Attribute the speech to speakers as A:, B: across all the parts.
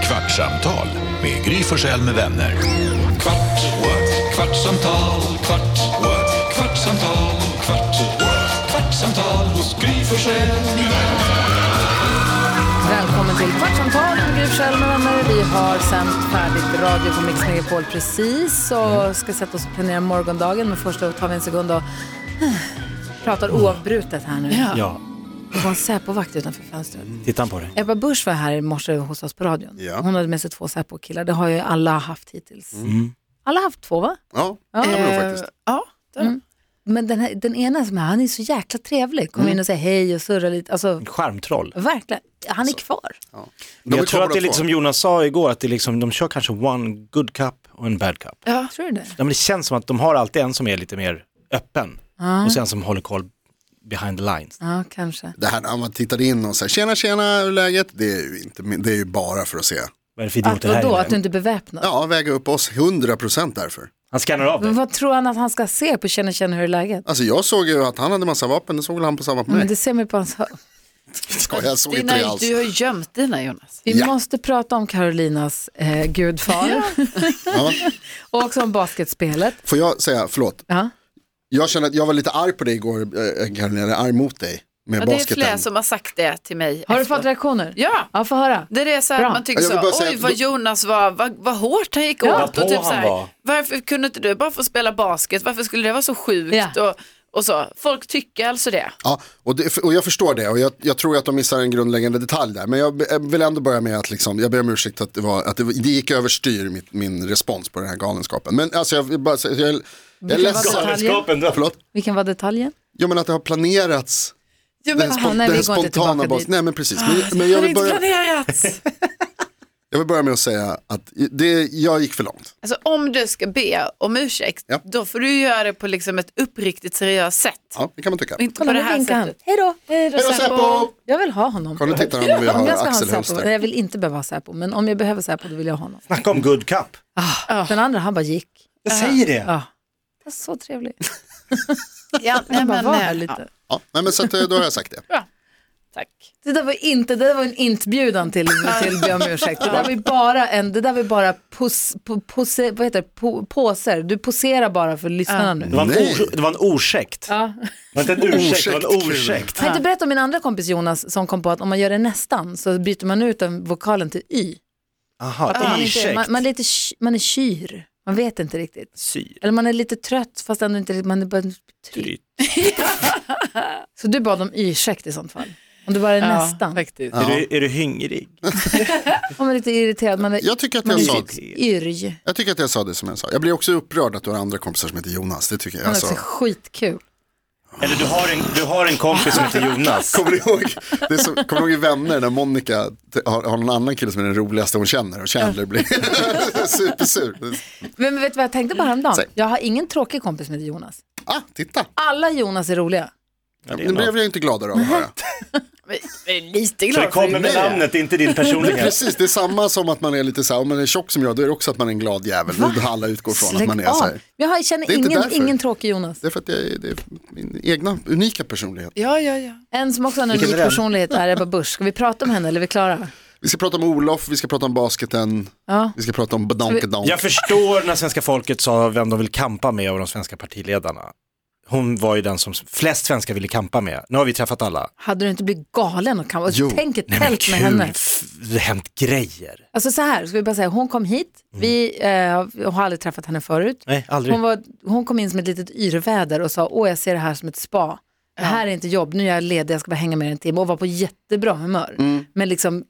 A: kvartsamtal med Gry Forssell med vänner. Kvart, what? kvartsamtal, kvart, what? kvartsamtal, kvart, what? kvartsamtal, Gry Forssell med vänner.
B: Välkommen till Kvartsamtal med Gry Forssell med vänner. Vi har sänt färdigt radio på Mix Megapol precis
C: Mm.
B: och ska sätta oss och planera morgondagen. Men först då tar vi en sekund och eh, pratar
C: Mm.
B: oavbrutet här nu.
D: Ja,
B: Det var en Säpo-vakt utanför fönstret.
C: Mm.
D: titta på det.
B: Ebba Busch var här i morse hos oss på radion. Hon hade med sig två Säpo-killar. Det har ju alla haft hittills. Alla har haft två va?
C: Mm.
B: Eh,
C: Ja, det kan man nog faktiskt. Mm.
E: Ja, det är det.
B: Men den, här, den ena som är, han är så jäkla trevlig. Kommer
C: Mm.
B: in och säger hej och surrar lite. Alltså,
D: Skärmtroll.
B: verkligen. Han är kvar.
C: De
D: Men
C: är
D: jag tror
C: kvar
D: att det är
C: båda
D: lite
C: två.
D: som Jonas sa igår, att det är liksom, de kör kanske one good cup och en bad cup. Ja,
B: Tror du det?
D: men det känns som att de har alltid en som är lite mer öppen
B: Ah.
D: och sen som håller koll behind the lines.
B: Ja, kanske.
C: Det här när man tittar in och säger tjena tjena, hur är läget? Det är ju, inte, det är ju bara för att se.
D: Vad är det för
B: Att
D: idioter här
B: vadå?
D: inne?
B: Att du inte är beväpnad?
C: Ja, väga upp oss 100% därför.
D: Han scannar av
B: Men
D: dig.
B: vad tror han att han ska se på Känner känner hur är läget?
C: Alltså jag såg ju att han hade massa vapen, det såg väl han på samma på
B: Men
C: mig.
B: det ser man ju på hans hö-
C: Skojar, jag såg inte det
E: Dina,
C: alls.
E: du har gömt dina Jonas.
B: Vi
C: Ja.
B: måste prata om Carolinas eh, gudfar
C: Ja.
B: och också om basketspelet.
C: Får jag säga, förlåt,
B: Ja.
C: jag känner att jag var lite arg på dig igår, eh, Karolina, eller arg mot dig med
E: Ja, det är
C: basketen.
E: flera som har sagt det till mig.
B: Har du
E: efteråt.
B: fått reaktioner?
E: Ja.
B: Ja, få höra.
E: Det är det så här,
B: Bra.
E: man tycker
C: Jag vill
E: så,
C: bara säga
E: oj
C: att
E: vad
C: då-
E: Jonas var, vad, vad hårt han gick
D: Vad
E: åt.
D: på
E: Och typ
D: han
E: så
D: var.
E: här, varför kunde inte du bara få spela basket? Varför skulle det vara så sjukt?
B: Ja.
E: Och, och så. Folk tycker alltså det.
C: Ja, och, det, och jag förstår det och jag, jag tror att de missar en grundläggande detalj där. Men jag b- jag vill ändå börja med att liksom, jag ber om ursäkt att det, var, att det, det gick överstyr mitt, min respons på den här galenskapen. Men alltså jag vill bara säga, jag, jag är
B: kan vara
C: ledsen.
B: detalj. Galenskapen,
C: Förlåt?
B: Vilken var detaljen?
C: Jo men att det har planerats.
E: Ja,
C: Den,
E: men,
C: spon-
B: nej, vi
C: den
B: går inte
C: spontana
B: tillbaka
C: bas.
B: dit. Ah,
C: Nej men precis. Men, men jag,
E: hade
C: vill
E: inte
C: börja,
E: planerats.
C: jag vill börja med att säga att det, jag gick för långt.
E: Alltså om du ska be om ursäkt,
C: Ja.
E: då får du göra det på liksom ett uppriktigt seriöst sätt.
C: Ja, det kan man tycka.
E: Och inte
B: Kolla,
E: på
B: nu
E: det här
B: vinkar han.
E: sättet.
B: Hej då! Hej då,
C: Hej då, Säpo!
B: Jag vill ha honom.
C: Kolla tittar han om vi
B: Om
C: har
B: jag ska ha en
C: Axel
B: Säpo, nej,
C: Hellster.
B: jag vill inte behöva ha Säpo, men om jag behöver Säpo då vill jag ha honom.
D: Snacka om good cup.
B: Den andra, han bara gick.
D: Jag säger det.
B: Ja. Det var så trevlig.
E: Ja, nej,
B: Han bara
E: men,
B: var
E: eh,
B: här lite.
E: ja,
C: Ja, nej, men så att, eh, då har jag sagt det.
E: tack.
B: Det där var inte, det där var en inbjudan till, till be om ursäkt. Det där var ju bara en, det där var ju bara pos, po, pose, vad heter det, po, poser. Du poserar bara för lyssnarna nu.
D: Det var en,
C: Nej.
D: or- det var en ursäkt.
B: Ja.
D: Det var inte en ursäkt, det var en
C: Ursäkt, kul.
D: ursäkt.
B: Kan jag inte berätta om min andra kompis Jonas som kom på att om man gör det nästan så byter man ut den vokalen till y.
D: Jaha,
B: Man, är inte,
D: ursäkt.
B: man, man, är lite, ky- man är kyr, man vet inte riktigt.
D: Syr.
B: Eller man är lite trött fast ändå inte riktigt, man är bara trygg.
D: Tryt.
B: Så du bad om ursäkt i sånt fall. Om du bara är nästan.
E: faktiskt.
D: Är, du, är du hungrig?
B: Om man är lite irriterad, man är
C: Jag tycker att
B: man
C: jag
B: är
C: sa
B: lite yrj.
C: Jag tycker att jag sa det som jag sa. Jag blir också upprörd att du har andra kompisar som heter Jonas. Det tycker jag.
B: Han är
C: Alltså,
B: också skitkul.
D: Eller du har, en, du har en kompis som heter Jonas.
C: kommer du ihåg, det är som, kommer du ihåg i Vänner när Monica t- har, har någon annan kille som är den roligaste hon känner och Chandler blir supersur.
B: Men vet du vad jag tänkte bara häromdagen?
C: Säg.
B: Jag har ingen tråkig kompis med Jonas.
C: Ah, titta.
B: Alla Jonas är roliga.
D: Ja, det är
C: Nu blev
D: något.
C: jag inte gladare av att höra.
E: Men, men lite
D: Så det
E: glad för
D: kommer med
C: Nej.
D: namnet, inte din personlighet.
C: Precis, det är samma som att man är lite så här, om man är tjock som jag, då är det också att man är en glad jävel. Det är det alla utgår från att man är så
B: av.
C: här.
B: Jag har- jag känner
C: Det är inte
B: ingen,
C: därför.
B: ingen tråkig Jonas.
C: Det är för att jag är, det är min egna unika personlighet.
E: Ja, ja, ja.
B: En som också har en unik
D: är den?
B: personlighet är Ebba Busch. Ska vi prata om henne eller är vi klara?
C: Vi ska prata om Olof, vi ska prata om basketen,
B: Ja.
C: vi ska prata om badonkedonk.
D: Jag förstår när svenska folket sa vem de vill kampa med av de svenska partiledarna. Hon var ju den som flest svenskar ville kampa med. Nu har vi träffat alla.
B: Hade du inte blivit galen och kan...
C: Jo.
B: Tänk ett
D: Nej men
B: tält med henne.
D: kul, F- det har hänt grejer.
B: Alltså så här, ska vi bara säga, hon kom hit,
C: Mm.
B: vi eh, har aldrig träffat henne förut.
D: Nej, aldrig.
B: Hon, var, hon kom in som ett litet yrväder och sa, åh jag ser det här som ett spa. Det här är inte jobb, nu är jag ledig, jag ska bara hänga med er en timme och var på jättebra humör.
C: Mm.
B: Men liksom,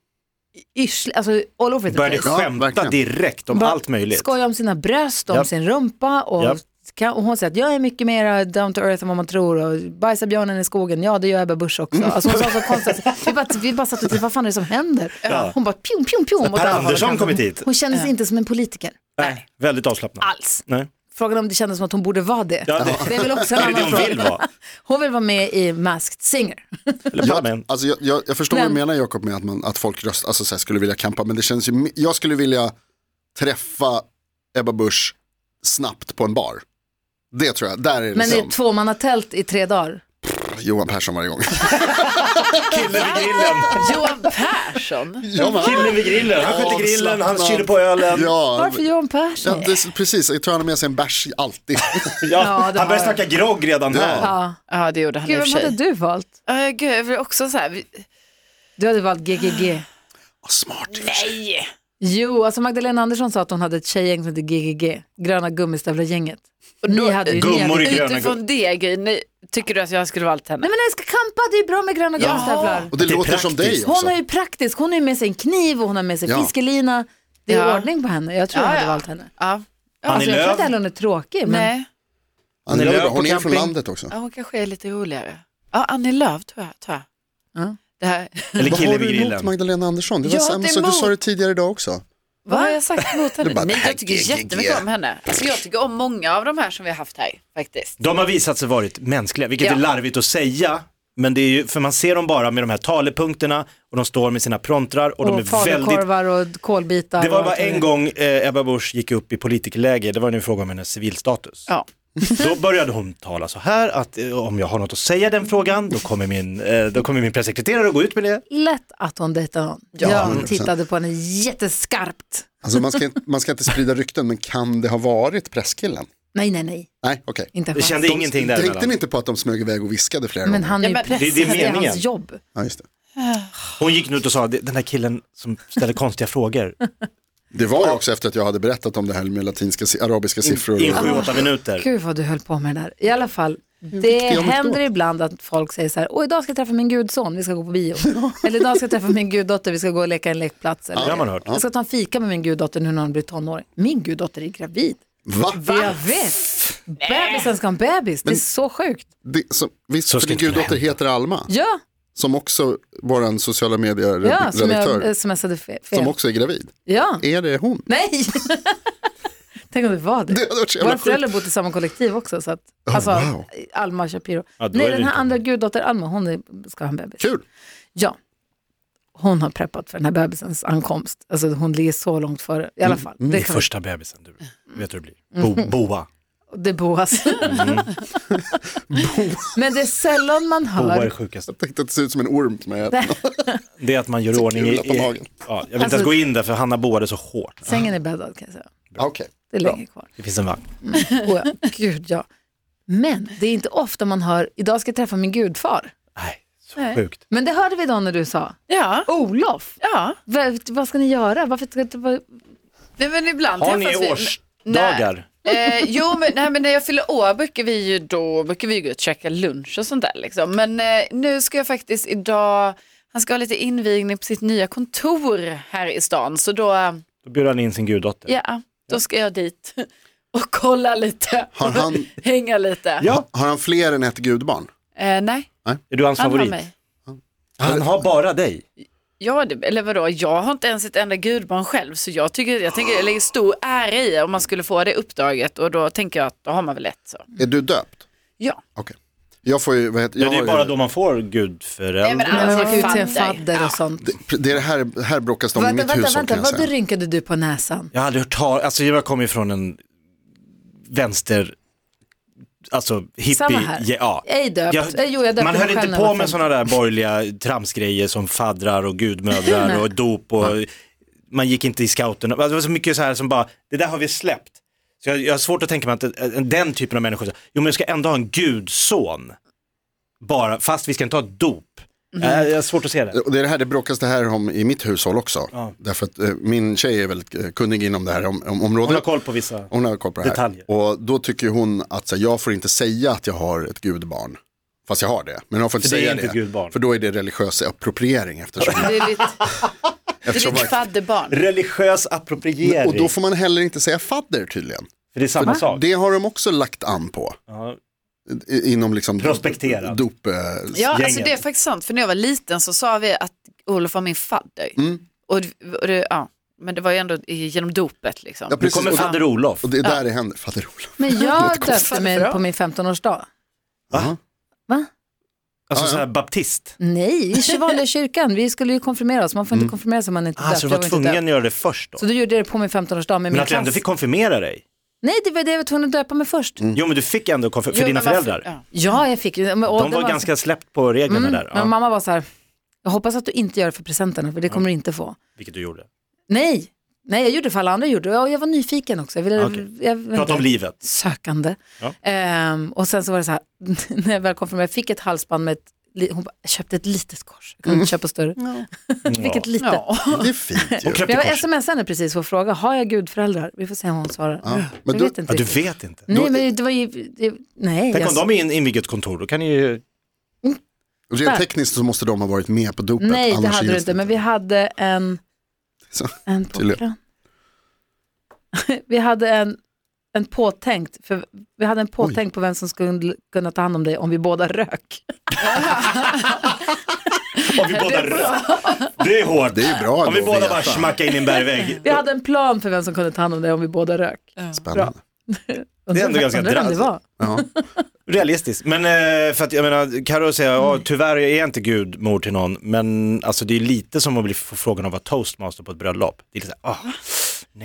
B: yrslig, alltså all over the
D: Började
B: place.
C: Ja,
D: skämta
C: verkligen.
D: direkt om
B: Bara
D: allt möjligt.
B: Skoja om sina bröst, om
D: Japp.
B: sin rumpa och,
D: Japp.
B: kan, och hon säger att jag är mycket mer down to earth än vad man tror och bajsar björnen i skogen, ja det gör Ebba Busch också.
D: Mm.
B: Alltså hon sa så konstigt, vi bara, vi bara satt och tittade, vad fan är det som händer? Hon bara pjom, pjom, pjom. åt
D: Per
B: alla håll och
D: Andersson
B: kanter.
D: kommit hit.
B: Hon kändes inte som en politiker
D: Nej, väldigt avslappnad.
B: alls.
D: Nej.
B: Frågan om det kändes som att hon borde vara det.
D: Ja, det-
B: Det är väl också en
D: Det är det
B: annan
D: hon vill
B: fråga.
D: vara.
B: Hon vill vara med i Masked Singer.
D: Eller
C: Jag,
D: Parlament.
C: alltså jag, jag, jag förstår
B: Men-
C: vad du menar Jakob med att, man, att folk röst, alltså så här, skulle vilja kampa, men det känns ju, jag skulle vilja träffa Ebba Busch snabbt på en bar. Det tror jag, där är det
B: Men i
C: liksom.
B: ett tvåmannatält i tre dagar.
C: Johan Persson varje gång.
D: Killen vid grillen.
E: Johan Persson?
C: Ja, va?
D: Killen vid grillen. Han sköter grillen, han kyler på ölen.
C: Ja,
B: Varför Johan Persson?
C: ja det, är precis. Jag tror han har med sig en bärs i- alltid.
B: Ja,
D: Ja,
B: det
D: han
B: var-
D: börjar snacka grogg redan där.
B: Ja.
E: Ja, det gjorde han
B: Gud,
E: i och
B: vad
E: för
B: hade
E: sig.
B: du valt?
E: Ja, gud, jag blir också så här. vi-
B: Du hade valt GGG.
C: Vad Smart.
E: Nej!
B: Jo, alltså Magdalena Andersson sa att hon hade ett tjejgäng som hette GGG, Gröna gummistövlar-gänget. Och ni hade ju... ni hade...
D: Gummor i gröna
E: Utifrån det grejen, nej, tycker du att jag skulle valt henne?
B: Nej men när jag ska kampa, det är bra med gröna gummistövlar.
C: Och det,
D: Det är
C: låter som dig
D: praktiskt.
C: också.
B: Hon har ju praktisk, hon har ju med sig en kniv och hon har med sig
C: Ja.
B: fiskelina. Det är
E: Ja.
B: ordning på henne, jag tror jag
E: Ja,
B: hade
E: ja.
B: valt henne.
E: Ja.
B: Alltså, jag
D: Lööf.
B: tror inte heller hon är tråkig, men
E: Nej,
C: Annie
D: Hon är
C: Lööf,
D: på
C: hon är från
D: camping.
C: landet också.
E: ja, hon kanske är lite roligare. Ja, Annie Lööf tror jag. Tror jag.
B: Ja.
E: Det här.
D: Eller
C: Vad har
D: killen
C: du
D: vid
C: emot
D: grillen.
C: Magdalena Andersson? Det var
E: Jag har
C: samma
E: inte
C: sak, du sa
E: emot.
C: det tidigare idag också.
E: Vad har jag sagt mot henne?
C: Du bara,
E: Nej,
C: "Det här
E: jag tycker
C: GGG."
E: jättemycket om henne. Alltså, jag tycker om många av de här som vi har haft här faktiskt.
D: De har visat sig varit mänskliga, vilket
E: Ja.
D: är larvigt att säga. Men det är ju, för man ser dem bara med de här talepunkterna och de står med sina prontrar och, de
B: och
D: är väldigt
B: falukorvar och kolbitar.
D: Det
B: och
D: var bara
B: allt
D: en
B: möjligt.
D: gång eh, Ebba Busch gick upp i politikerläge, det var när vi frågade om hennes civilstatus.
E: Ja.
D: Då började hon tala så här att eh, om jag har något att säga i den frågan då kommer min, eh, då kommer min pressekreterare att gå ut med det.
B: Lätt att hon dejtar någon. jag
C: 100%.
B: tittade på henne jätteskarpt.
C: Alltså man ska, inte- man ska inte sprida rykten, men kan det ha varit presskillen?
B: Nej, nej, nej,
C: Nej, okej.
B: inte en
D: Jag
B: chans.
D: kände ingenting
C: Tänkte ni
D: däremellan.
C: inte på att de smög iväg och viskade flera
B: Men
C: gånger?
B: han är ju
E: Ja, men-
B: pressad,
D: Det- det är
B: det är
D: meningen.
B: hans jobb.
C: Ja, just det.
D: Hon gick nu ut och sa den här killen som ställer konstiga frågor
C: det var ju också efter att jag hade berättat om det här med latinska, si- arabiska siffror.
D: i
C: Och,
D: sju, åtta minuter.
B: Gud vad du höll på med det där. I alla fall, det
C: viktig om
B: händer
C: ett år.
B: ibland att folk säger så här, åh idag ska jag träffa min gudson, vi ska gå på bio. Eller idag ska jag träffa min guddotter, vi ska gå och leka en lekplats. Eller,
D: Ja, det har man hört.
B: Jag ska ta en fika med min guddotter nu när hon blir tonåring. Min guddotter är gravid.
C: va?
B: Jag vet. Bebisen ska ha en bebis, det är så sjukt.
C: Det, som, visst,
D: Så
C: för
D: ska
C: din
D: inte det
C: guddotter
D: hända.
C: heter Alma,
B: Ja,
C: som också vår sociala
B: ja som
C: medier-redaktör,
B: jag eh, smsade fe- fel.
C: som också är gravid.
B: Ja,
C: Är det hon?
B: nej. Tänk om det var det.
C: Det hade varit så
B: Våra
C: jävla
B: föräldrar
C: sjukt.
B: bott i samma kollektiv också. Så att, alltså,
C: wow.
B: Alma Shapiro.
D: Ja, då
B: Nej,
D: är det
B: den här
D: inte-
B: andra guddotter Alma, hon är, ska ha en bebis.
C: Kul.
B: Ja. Hon har preppat för den här bebisens ankomst. Alltså hon ligger så långt före, i
C: Mm.
B: alla fall.
D: Det
B: Det,
D: är
B: kan,
D: första bebisen du vet hur det blir. Bo, boa.
B: det boas.
C: Mm.
B: Men det är sällan man
D: Boa är det
B: hör,
D: sjukaste.
C: Tänkte att det ser ut som en orm som jag äter.
D: Det är att man gör i
C: Så
D: ordning i...
C: kul på
D: i-
C: magen.
D: Ja, jag vill inte
E: Alltså-
D: ens gå in där för Hanna boade så hårt.
B: sängen är bäddad kan jag säga.
C: Ah, Okej,
B: Det är länge kvar.
D: Det finns en vagn.
B: Och jag, gud ja. Men det är inte ofta man hör, idag ska jag träffa min gudfar.
D: Nej, så sjukt.
B: Men det hörde vi då när du sa,
E: Ja,
B: Olof,
E: ja.
B: vad, vad ska ni göra? Varför ska inte vara
E: Nej, men ibland
D: Har ni
E: träffas vi-
D: årsdagar?
E: Eh, jo, men, nej, men när jag fyller år brukar vi ju då brukar vi ju gå ut och käka lunch och sånt där. Liksom. Men eh, nu ska jag faktiskt idag, han ska ha lite invigning på sitt nya kontor här i stan. Så då, eh,
D: Då bjuder han in sin guddotter.
E: ja, då ska jag dit och kolla lite.
C: Har han-
E: Hänga lite.
D: Ja.
C: har han fler än ett gudbarn?
E: Eh, nej,
D: Är du hans
E: han
D: favorit?
E: har mig.
D: Han har bara dig.
E: Ja, det, eller vadå, jag har inte ens ett enda gudbarn själv. Så jag, tycker, jag, tänker, jag lägger stor ära i om man skulle få det uppdraget. Och då tänker jag att då har man väl ett. Så.
C: Är du döpt?
E: Ja.
C: Okej. Jag får ju, vad heter, jag
D: det är
C: har
D: bara
C: ju,
D: då man får
E: Nej,
D: gudföräldrar.
E: men-
B: man åka ut Alltså, till en
E: fadder.
B: fadder och sånt?
C: det, det är det här, här bråkas de i
B: Vänta,
C: mitt
B: vänta,
C: hushåll
B: vänta,
C: kan jag
B: vad
C: säga.
B: rynkade du på näsan?
D: Jag hade hört talas, alltså jag kommer ju från en vänster, alltså hippie.
B: Samma här.
D: Ja.
B: Ej döpt.
D: Jag-
B: Ej, eh, jo, jag döpte
D: man
B: mig
D: höll
B: själv
D: inte
B: när
D: på
B: jag var
D: med
B: fem.
D: sådana där borgerliga tramsgrejer som faddrar och gudmödrar och dop och man gick inte i scouterna. Alltså, Det var så mycket så här som bara, det där har vi släppt. Så jag, jag har svårt att tänka mig att eh, den typen av människor, jo men jag ska ändå ha en gudson, bara, fast vi ska inte ha ett dop.
B: Mhm.
D: Eh, Jag, jag har svårt att se det.
C: Och Det är det här det bråkas det här om i mitt hushåll också. Därför att eh, min tjej är väldigt eh, kunnig inom det här om, om, området.
D: Hon har koll på vissa.
C: Hon har koll på det här.
D: Detaljer.
C: Och då tycker hon att så här, jag får inte säga att jag har ett gudbarn. Fast jag har det. Men jag får inte
D: För det är
C: säga
D: inte ett gudbarn.
C: För då är det religiös appropriering eftersom.
E: Det är ditt, det är
C: eftersom
E: ditt fadderbarn.
D: Religiös appropriering.
C: och då får man heller inte säga fadder tydligen.
D: För det är samma sak.
C: Det har de också lagt an på.
D: Ja.
C: I, inom liksom
D: Prospekterad.
C: dop. eh,
E: Ja,
D: gänget.
E: alltså det är faktiskt sant. För när jag var liten så sa vi att Olof var min fadder.
D: Mm.
E: Och, det- och det, ja, men det var ju ändå i- genom dopet liksom.
C: Ja,
D: Nu
C: precis.
D: kommer
C: Och-
D: fader Olof.
C: Och det är där det händer. Fadder Olof.
B: Men
C: Låter
B: jag döpte
C: konstigt.
B: mig
E: Bra.
B: på min 15-årsdag.
C: Aha.
B: Va?
D: Alltså sån här baptist.
B: Nej, i vanliga kyrkan. Vi skulle ju konfirmera oss. Man får inte konfirmera sig om man inte är döpt.
D: Alltså Mm. du
B: Jag
D: var
B: inte
D: tvungen
B: döpt.
D: att göra det först då.
B: Så då gjorde jag det på min 15-årsdag med
D: Men
B: min
D: att du ändå
B: klass.
D: fick konfirmera dig.
B: Nej, det var det jag var tvungen att döpa mig först.
D: Jo men du fick ändå konfirmation, för
E: Jo,
D: dina
E: men varför-
D: föräldrar.
E: Ja.
B: Ja, jag fick ju. men- och
D: Mm. De
B: det Mm,
D: var ganska släppt på reglerna
E: Mm,
D: där.
B: Men
D: Ja,
B: mamma var så här, jag hoppas att du inte gör det för presenterna, för det kommer du inte få.
D: vilket du gjorde.
B: Nej, nej jag gjorde det för alla andra gjorde det. Och jag var nyfiken också. Jag ville,
D: Ah, Okej.
B: jag, vet
D: Prata om
B: inte,
D: livet.
B: Sökande.
D: Ja.
B: Ehm, och sen så var det så här, när jag väl kom fram, jag fick ett halsband med ett, li- hon bara, jag köpte ett litet kors, jag kunde inte köpa större.
D: Mm.
B: Vilket litet.
E: Ja.
C: Det är fint ju.
D: Hon knäppte
B: Jag
D: kors.
B: smsade henne precis för att fråga, har jag gudföräldrar? Vi får se om hon svarar.
C: Ja, men
B: jag
C: då-
B: vet inte
D: Ja, du
B: riktigt.
D: vet inte.
B: Nej, men det var ju, det, nej.
D: Tänk
B: jag
D: om
B: sa-
D: de är in- inviger ett kontor, då kan ni ju...
C: Rent tekniskt så måste de ha varit med på dopet.
B: Nej, det
C: annars
B: hade
C: gills
B: du inte, men vi hade en,
C: Så,
B: en
C: tydligen.
B: pojkvän. vi hade en, en påtänkt, för vi hade en påtänkt på vem som skulle kunna ta hand om dig om vi båda rök.
D: Om vi båda Det är hårt.
C: Det är ju bra
D: Om vi
C: ändå att
D: båda bara
C: veta.
D: smackar in i en bergvägg.
B: Vi hade en plan för vem som kunde ta hand om dig om vi båda rök.
C: Spännande.
B: Undrar-
D: ändå ganska
B: undrar vem det
D: dra-
B: var.
C: Ja.
D: Realistiskt. Men eh, för att jag menar, Carro säger, ja
E: Mm.
D: tyvärr är jag inte gudmor till någon, men alltså det är lite som att bli få frågan om att vara toastmaster på ett bröllop. Det är lite såhär, ah, nej,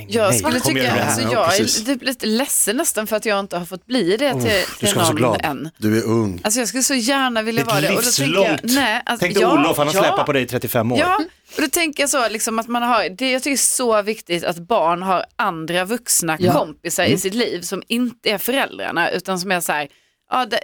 D: nej,
E: Jag
D: nej,
E: skulle
D: kom igen
E: tycka,
D: nu.
E: alltså,
C: Ja,
E: jag
C: precis.
E: är typ lite ledsen nästan för att jag inte har fått bli det till, till
D: ska vara så
E: någon
D: glad.
E: än.
C: Du är ung.
E: Alltså jag skulle så gärna vilja
D: Ditt
E: vara det.
D: livslångt.
E: jag, nej, alltså,
D: Tänk dig
E: ja,
D: Olof, han har
E: ja,
D: släpat på dig i 35 år.
E: Ja, och då tänker jag så liksom att man har, det jag tycker är så viktigt att barn har andra vuxna kompisar
B: Mm.
E: i sitt liv som inte är föräldrarna utan som är så här, ja, det,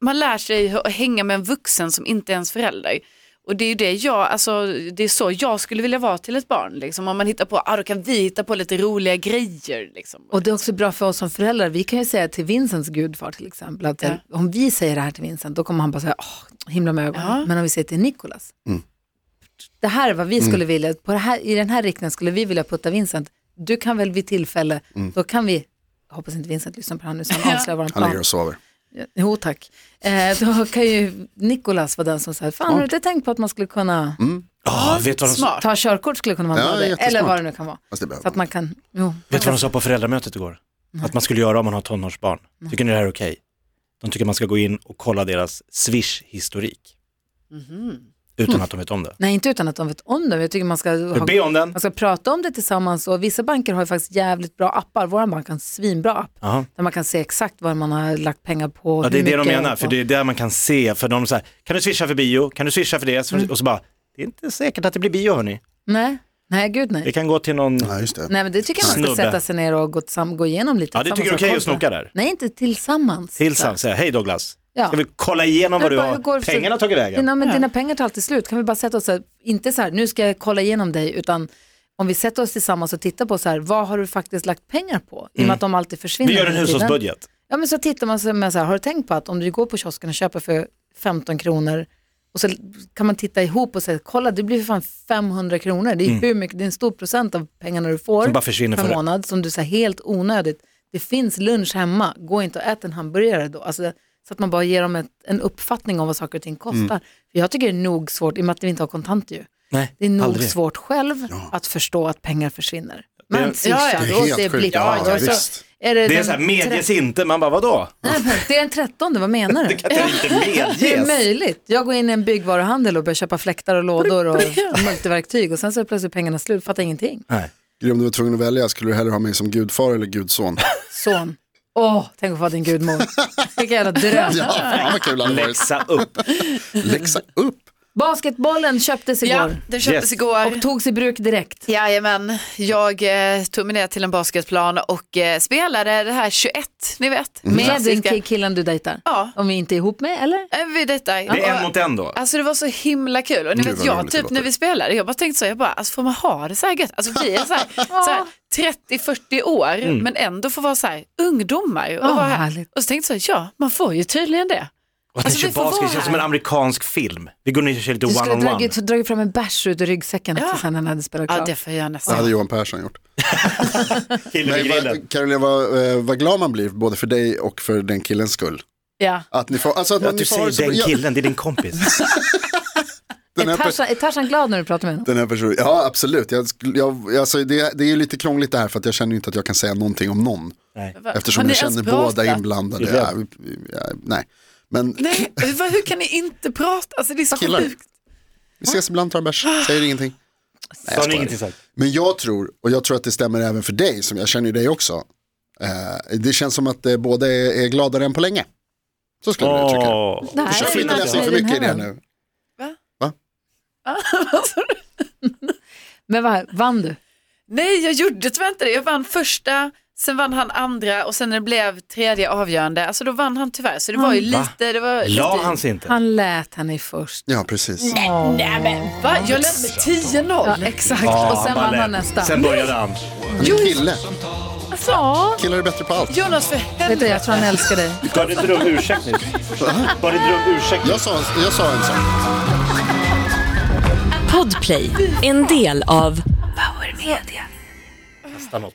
E: man lär sig att hänga med en vuxen som inte är ens förälder. Och det är ju det jag, alltså det är så jag skulle vilja vara till ett barn liksom. Om man hittar på, ah, då kan vi hitta på lite roliga grejer liksom.
B: Och det är också bra för oss som föräldrar. Vi kan ju säga till Vincents gudfar till exempel, att
E: Ja.
B: om vi säger det här till Vincent, då kommer han bara säga, åh, himla med ögonen.
E: Ja.
B: Men om vi säger till Nicolas, det här är vad vi skulle vilja, på det här, i den här riktningen skulle vi vilja putta Vincent, du kan väl vid tillfälle, då kan vi, jag hoppas inte Vincent lyssnar på det här nu så han avslöjar våran
C: Han ligger
B: plan.
C: och sover.
B: Jo tack. Eh, då kan ju Nicolas vara den som säger, fan har du inte tänkt på att man skulle kunna
D: Ah, vet du vad de,
E: Smart.
B: ta körkort, skulle kunna vara
C: Ja,
B: med det,
C: jättesmart.
B: eller vad det nu kan vara.
C: Fast det
B: Så att
C: behöver man.
B: man kan, jo.
D: vet du vad de sa på föräldramötet igår? Att man skulle göra om man har tonårsbarn. Tycker ni det här är okej? De tycker man ska gå in och kolla deras swish-historik.
B: Mhm.
D: Utan att de vet om det.
B: Nej, inte utan att de vet om det. men Jag tycker man ska, ha,
D: Be om den.
B: man ska prata om det tillsammans. Och vissa banker har ju faktiskt jävligt bra appar. Vår bank har en svinbra app.
D: Jaha.
B: Där man kan se exakt vad man har lagt pengar på. och
D: Ja, det är
B: hur
D: det de
B: mycket
D: menar,
B: och-
D: för det är där man kan se, för de säger, kan du swisha för bio, kan du swisha för det,
B: Mm.
D: och så bara, det är inte säkert att det blir bio hörni,
B: Nej, nej gud
D: det
B: nej.
D: kan gå till någon,
C: Ja, just det.
B: Nej, men det tycker jag man ska
D: Snubbe.
B: sätta sig ner och gå, tillsamm- gå igenom lite.
D: ja det tycker du är
B: tillsammans
D: okej
B: och
D: att
B: kolla.
D: snoka där,
B: Nej, inte tillsammans.
D: tillsammans, säga, hej Douglas,
B: Ja.
D: ska vi kolla igenom vad du
B: Men bara, hur går
D: har,
B: det för-
D: pengarna har tagit vägen?
B: Dina, men dina pengar tar alltid slut. Kan vi bara sätta oss, så här, inte så här, nu ska jag kolla igenom dig, utan om vi sätter oss tillsammans och tittar på så här, vad har du faktiskt lagt pengar på? I och med att de alltid försvinner.
D: Mm. Vi gör en
B: hela tiden.
D: hushållsbudget,
B: Ja men så tittar man sig med så här, har du tänkt på att om du går på kiosken och köper för 15 kronor och så kan man titta ihop och säga, kolla det blir för fan 500 kronor, det är, hur mycket, det är en stor procent av pengarna du får
D: Mm. Som bara försvinner
B: per
D: för-
B: månad som du säger helt onödigt. Det finns lunch hemma, gå inte och ät en hamburgare då. Alltså, så att man bara ger dem ett, en uppfattning om vad saker och ting kostar. För jag tycker det är nog svårt, i och med att vi inte har kontant ju,
D: Mm. nej,
B: det är nog
D: aldrig.
B: svårt själv att förstå att pengar försvinner.
D: är-
B: Man swishar,
C: Det är
B: och
C: helt
B: är
C: sjukt.
B: blipp,
C: Ja,
B: och så
C: visst.
B: är
D: Det är
B: den
D: så här, medges inte, man bara vadå?
B: Nej, men det är den 13, vad menar du?
D: Att det inte
B: Det är
D: medges?
B: möjligt. Jag går in i en byggvaruhandel och börjar köpa fläktar och lådor och multiverktyg och sen så är plötsligt pengarna slut, fattar ingenting.
D: Nej.
C: Gry, Om du var tvungen att välja, skulle du hellre ha mig som gudfar eller gudson?
B: Son. Åh, tänk att få din gudmor. Vilken jävla dröm.
C: Ja, fan vad kul det hade varit.
D: Läxa upp,
C: Läxa upp.
B: Basketbollen köptes igår
E: Ja, den köptes
D: Yes.
E: igår.
B: och togs i bruk direkt.
E: Jajamän, jag eh, tog mig ner till en basketplan och eh, spelade det här 21, ni vet.
B: Mm. Med den
E: Klassiska.
B: ki- killen du dejtar.
E: Ja.
B: Om vi inte är ihop med, eller?
E: Eh, Vi detta.
D: det är en mot en då.
E: Alltså det var så himla kul och ni
C: Gud,
E: vet
C: vad
E: jag
C: roligt det
E: typ
C: låter.
E: när vi spelade, jag bara tänkte så, jag bara, alltså får man ha det så här gött? Alltså blir jag så här, så här 30-40 år
D: Mm.
E: men ändå får vara så här ungdomar och
B: Ja,
E: vara här.
B: härligt.
E: Och så tänkte jag så, här, ja man får ju tydligen det.
D: Och att
E: Alltså,
D: ni
E: vi
D: kör
E: får
D: basket
E: vara
D: känns som en
E: här.
D: amerikansk film. Vi går ner och kör lite
B: Du skulle ha
D: one-on-one.
B: dragit, dragit fram en bärs ut ur ryggsäcken också
E: Ja.
B: sen när han hade spelat
E: Ja
B: klart.
E: det får jag nästan.
C: Det hade Johan Persson gjort.
D: Killen vid
C: Nej,
D: grillen.
C: vad, Caroline, vad, eh, vad glad man blir, både för dig och för den killens skull.
E: Ja.
C: Att ni får, alltså att, man-
D: Att
C: ni
D: du
C: får ha
D: säger
C: det så-
D: den
C: ja,
D: killen, det är din kompis.
C: den
B: är,
C: här pers-
B: Tarzan, är Tarzan glad när du pratar med honom?
C: Den här personen, ja absolut. Jag, skulle- jag, alltså det, det är ju lite krångligt det här för att jag känner ju inte att jag kan säga någonting om någon.
D: Nej.
E: Har
C: Eftersom
E: ni
C: jag känner
E: ens pratat?
C: båda inblandade.
D: Det är
C: Ja, ja, nej, men
E: Nej, vad- hur kan ni inte prata? Alltså det är så
C: Killar.
E: sjukt.
C: vi ses ibland, tar en bärs, säger ingenting.
D: Sa ni ingenting sagt?
C: Men jag tror, och jag tror att det stämmer även för dig, som jag känner ju dig också, Eh, det känns som att eh, båda är, är gladare än på länge. Så skulle jag tycka.
D: Åh.
B: Det här
C: Försök
B: är
C: inte
B: något
C: läsa
B: med
C: för
B: den
C: mycket i
B: här.
C: det nu.
B: Men vad, vann du?
E: Nej, jag gjorde tyvärr inte det. Jag vann första, sen vann han andra och sen när det blev tredje avgörande, alltså då vann han tyvärr. Så det var ju lite, det var
D: La
E: lite...
D: Mm. han sig inte?
B: Han lät henne i först.
C: Ja, precis.
E: Va? Jag ledde med 10-0.
B: Ja, exakt.
D: Ja,
B: och sen
D: bara
B: vann han
D: lät.
B: nästa.
D: Sen började han.
C: Han är kille.
B: Ja.
C: Killar är bättre på allt.
E: Jonas, för
B: Vet
E: helvete.
B: du, jag tror han älskar dig.
D: Gav inte du om ursäkt nu? Gav inte du om ursäkt nu?
C: Jag sa, jag sa en sak.
F: Podplay, en del av
D: Nästan något.